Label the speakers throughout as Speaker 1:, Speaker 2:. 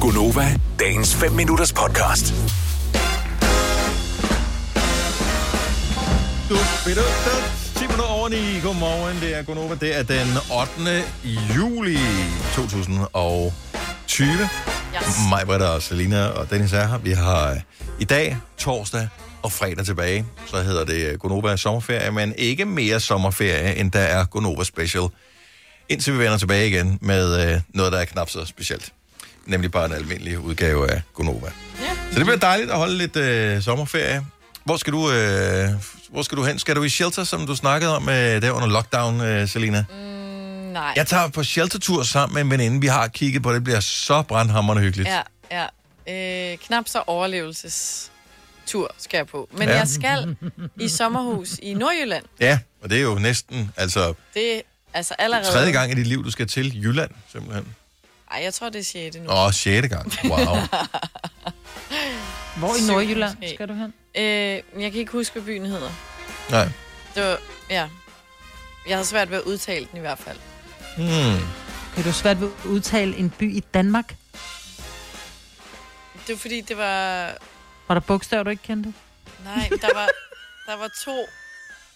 Speaker 1: Gunova, dagens 5 minutters podcast.
Speaker 2: Du, ved du, du, 10 minutter over 9. Godmorgen, det er Gunova. Det er den 8. juli 2020. Yes. Mig, Britta og Selina og Dennis er her. Vi har øh, i dag, torsdag og fredag tilbage. Så hedder det øh, Gunova sommerferie, men ikke mere sommerferie, end der er Gunova special. Indtil vi vender tilbage igen med øh, noget, der er knap så specielt. Nemlig bare en almindelig udgave af Gunova. Så det bliver dejligt at holde lidt øh, sommerferie. Hvor skal, du, øh, hvor skal du hen? Skal du i shelter, som du snakkede om øh, der under lockdown, øh, Selina?
Speaker 3: Mm. Nej.
Speaker 2: Jeg tager på sheltertur sammen med en veninde, vi har kigget på. Det bliver så brandhammerende hyggeligt.
Speaker 3: Ja, ja. Øh, knap så overlevelsestur skal jeg på. Men
Speaker 2: Ja.
Speaker 3: ja. jeg skal i sommerhus i Nordjylland.
Speaker 2: ja, og det er jo næsten altså
Speaker 3: Det er altså allerede...
Speaker 2: tredje gang i dit liv, du skal til Jylland, simpelthen.
Speaker 3: Ej, jeg tror, det er 6. nu.
Speaker 2: Og sjette gang. Wow.
Speaker 4: Hvor i
Speaker 3: Syv
Speaker 4: Nordjylland
Speaker 3: måske.
Speaker 4: skal du hen?
Speaker 3: Øh, men jeg kan ikke huske, hvad byen hedder.
Speaker 2: Nej.
Speaker 3: Det var... Ja. Jeg havde svært ved at udtale den i hvert fald.
Speaker 2: Hmm.
Speaker 4: Kan du svært ved at udtale en by i Danmark?
Speaker 3: Det var fordi, det var...
Speaker 4: Var der bogstaver, du ikke kendte?
Speaker 3: Nej, der var, der var to...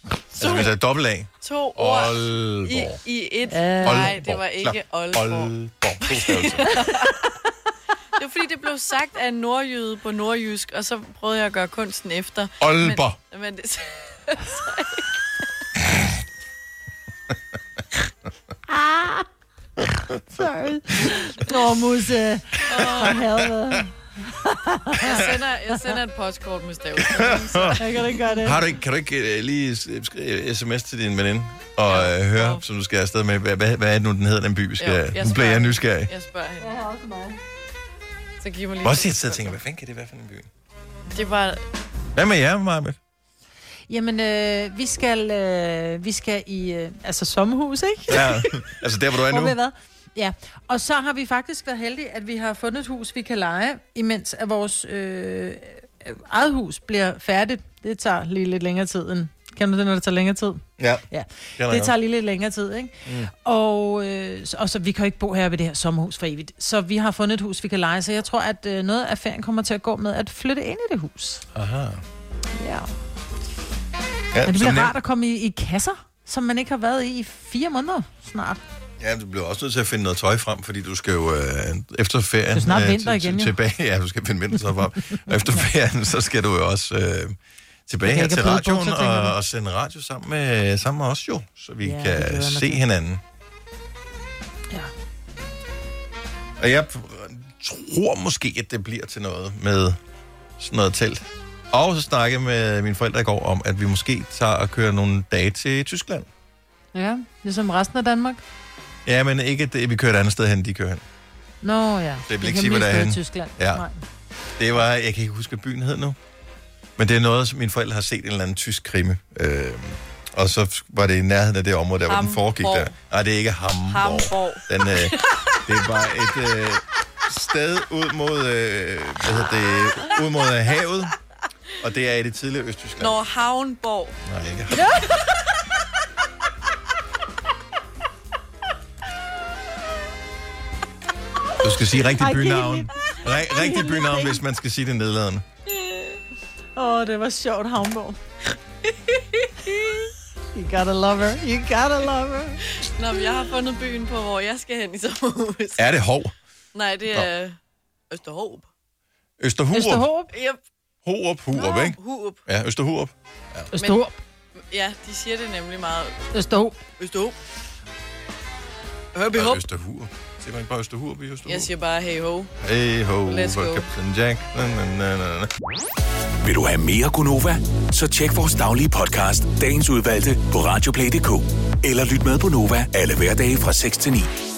Speaker 2: Altså, hvis
Speaker 3: To,
Speaker 2: jeg er dobbelt A.
Speaker 3: to ord i,
Speaker 2: Aalborg.
Speaker 3: i et.
Speaker 4: Aalborg.
Speaker 3: Nej, det var ikke
Speaker 2: Klap.
Speaker 3: Aalborg.
Speaker 2: Aalborg. To stavelser.
Speaker 3: Det var fordi, det blev sagt af en nordjyde på nordjysk, og så prøvede jeg at gøre kunsten efter.
Speaker 2: Aalborg.
Speaker 3: Men, men det,
Speaker 4: Sorry. Normusse. For helvede.
Speaker 3: jeg, sender, jeg sender et postkort med stav.
Speaker 4: Jeg kan ikke gøre det.
Speaker 2: Har du ikke, kan du ikke øh, lige s- skrive sms til din veninde og øh, høre,
Speaker 3: Jo.
Speaker 2: som du skal afsted med, hvad, hvad, hvad er det nu, den hedder, den by, vi
Speaker 3: Jo,
Speaker 2: skal...
Speaker 3: jeg
Speaker 2: nu bliver jeg
Speaker 3: spørger.
Speaker 2: nysgerrig.
Speaker 3: Jeg spørger hende. Så giv mig lige...
Speaker 2: Hvor også jeg sidder og tænker, hvad fanden kan det være for en by?
Speaker 3: Det var...
Speaker 2: Hvad med jer, Marvitt?
Speaker 4: Jamen, øh, vi, skal, øh, vi skal i øh, altså sommerhus, ikke?
Speaker 2: Ja, altså der, hvor du er
Speaker 4: Hvor
Speaker 2: nu.
Speaker 4: vi har været. Ja, og så har vi faktisk været heldige, at vi har fundet et hus, vi kan lege, imens at vores øh, eget hus bliver færdigt. Det tager lige lidt længere tid end... Kan du det, når det tager længere tid?
Speaker 2: Ja,
Speaker 4: Ja,
Speaker 2: Kender jeg
Speaker 4: det tager lige lidt længere tid, ikke? Mm. Og, øh, og så, vi kan jo ikke bo her ved det her sommerhus for evigt. Så vi har fundet et hus, vi kan lege, så jeg tror, at øh, noget af ferien kommer til at gå med at flytte ind i det hus.
Speaker 2: Aha.
Speaker 4: Ja.
Speaker 2: Ja,
Speaker 4: Men det
Speaker 2: så
Speaker 4: bliver
Speaker 2: nem-
Speaker 4: rart at komme i, i kasser, som man ikke har været i i fire måneder snart.
Speaker 2: Ja, du bliver også nødt til at finde noget tøj frem, fordi du skal jo øh, efter ferien... Det
Speaker 4: er snart vinter igen, jo.
Speaker 2: Tilbage, ja, du skal finde vintertøj frem. Og efter ferien, så skal du jo også øh, tilbage
Speaker 4: Jeg kan
Speaker 2: her
Speaker 4: ikke
Speaker 2: til
Speaker 4: have bløde
Speaker 2: radioen
Speaker 4: bukser, tænker
Speaker 2: og,
Speaker 4: du?
Speaker 2: og sende radio sammen med, sammen med os jo, så vi
Speaker 4: Ja,
Speaker 2: ja,
Speaker 4: det glæder jeg
Speaker 2: kan
Speaker 4: mig
Speaker 2: se
Speaker 4: til.
Speaker 2: hinanden.
Speaker 4: Ja.
Speaker 2: Og jeg tror måske, at det bliver til noget med sådan noget telt. Og så snakkede jeg med mine forældre i går om, at vi måske tager og kører nogle dage til Tyskland.
Speaker 4: Ja, ligesom resten af Danmark.
Speaker 2: Ja, men ikke, at det- vi kører et andet sted hen, de kører hen.
Speaker 4: Nå ja.
Speaker 2: bliver
Speaker 4: Vi
Speaker 2: ikke
Speaker 4: kan
Speaker 2: sige, hvad
Speaker 4: mest
Speaker 2: det er
Speaker 4: være i
Speaker 2: henne.
Speaker 4: Tyskland.
Speaker 2: Ja.
Speaker 4: Nej.
Speaker 2: Det var, jeg kan ikke huske, hvad byen hed nu. Men det er noget, som mine forældre har set en eller anden tysk krimi. Øh, og så var det i nærheden af det område, der hvor den foregik der.
Speaker 3: Hamborg.
Speaker 2: Nej, det er ikke Hamburg.
Speaker 3: Hamborg.
Speaker 2: Den, øh, det var et øh, sted ud mod, øh, hvad hedder det, ud mod øh, havet. Og det er i det tidligere Østtyskland.
Speaker 3: Når Havnborg.
Speaker 2: Nej, ikke. Du skal sige rigtig
Speaker 4: Ej,
Speaker 2: bynavn.
Speaker 4: kedeligt.
Speaker 2: Re- rigtig bynavn, hvis man skal sige det nedladende.
Speaker 4: Åh, oh, det var sjovt, Havnborg. You gotta love her. You gotta love her.
Speaker 3: Nå, men jeg har fundet byen på, hvor jeg skal hen i sommerhus.
Speaker 2: Er det Hov?
Speaker 3: Nej, det er... Østerhåb.
Speaker 2: Østerhurup?
Speaker 4: Østerhåb.
Speaker 3: Yep.
Speaker 2: Hurup, Hurup, ikke?
Speaker 3: Hurup.
Speaker 2: Ja, Østerhurup.
Speaker 4: Østerhåb.
Speaker 3: Ja, de siger det nemlig meget.
Speaker 4: Østerhåb.
Speaker 3: Østerhåb. Hør, vi
Speaker 2: Og
Speaker 3: håb.
Speaker 2: Østerhurup. Siger man ikke bare Østerhurup i Østerhurup?
Speaker 3: Jeg siger bare, hey ho.
Speaker 2: Hey ho,
Speaker 3: Let's
Speaker 2: for
Speaker 3: go.
Speaker 2: Captain Jack. Na, na, na, na, na.
Speaker 1: Vil du have mere Gunova? Så tjek vores daglige podcast, dagens udvalgte, på radioplay.dk. Eller lyt med på Nova alle hverdage fra 6 til 9.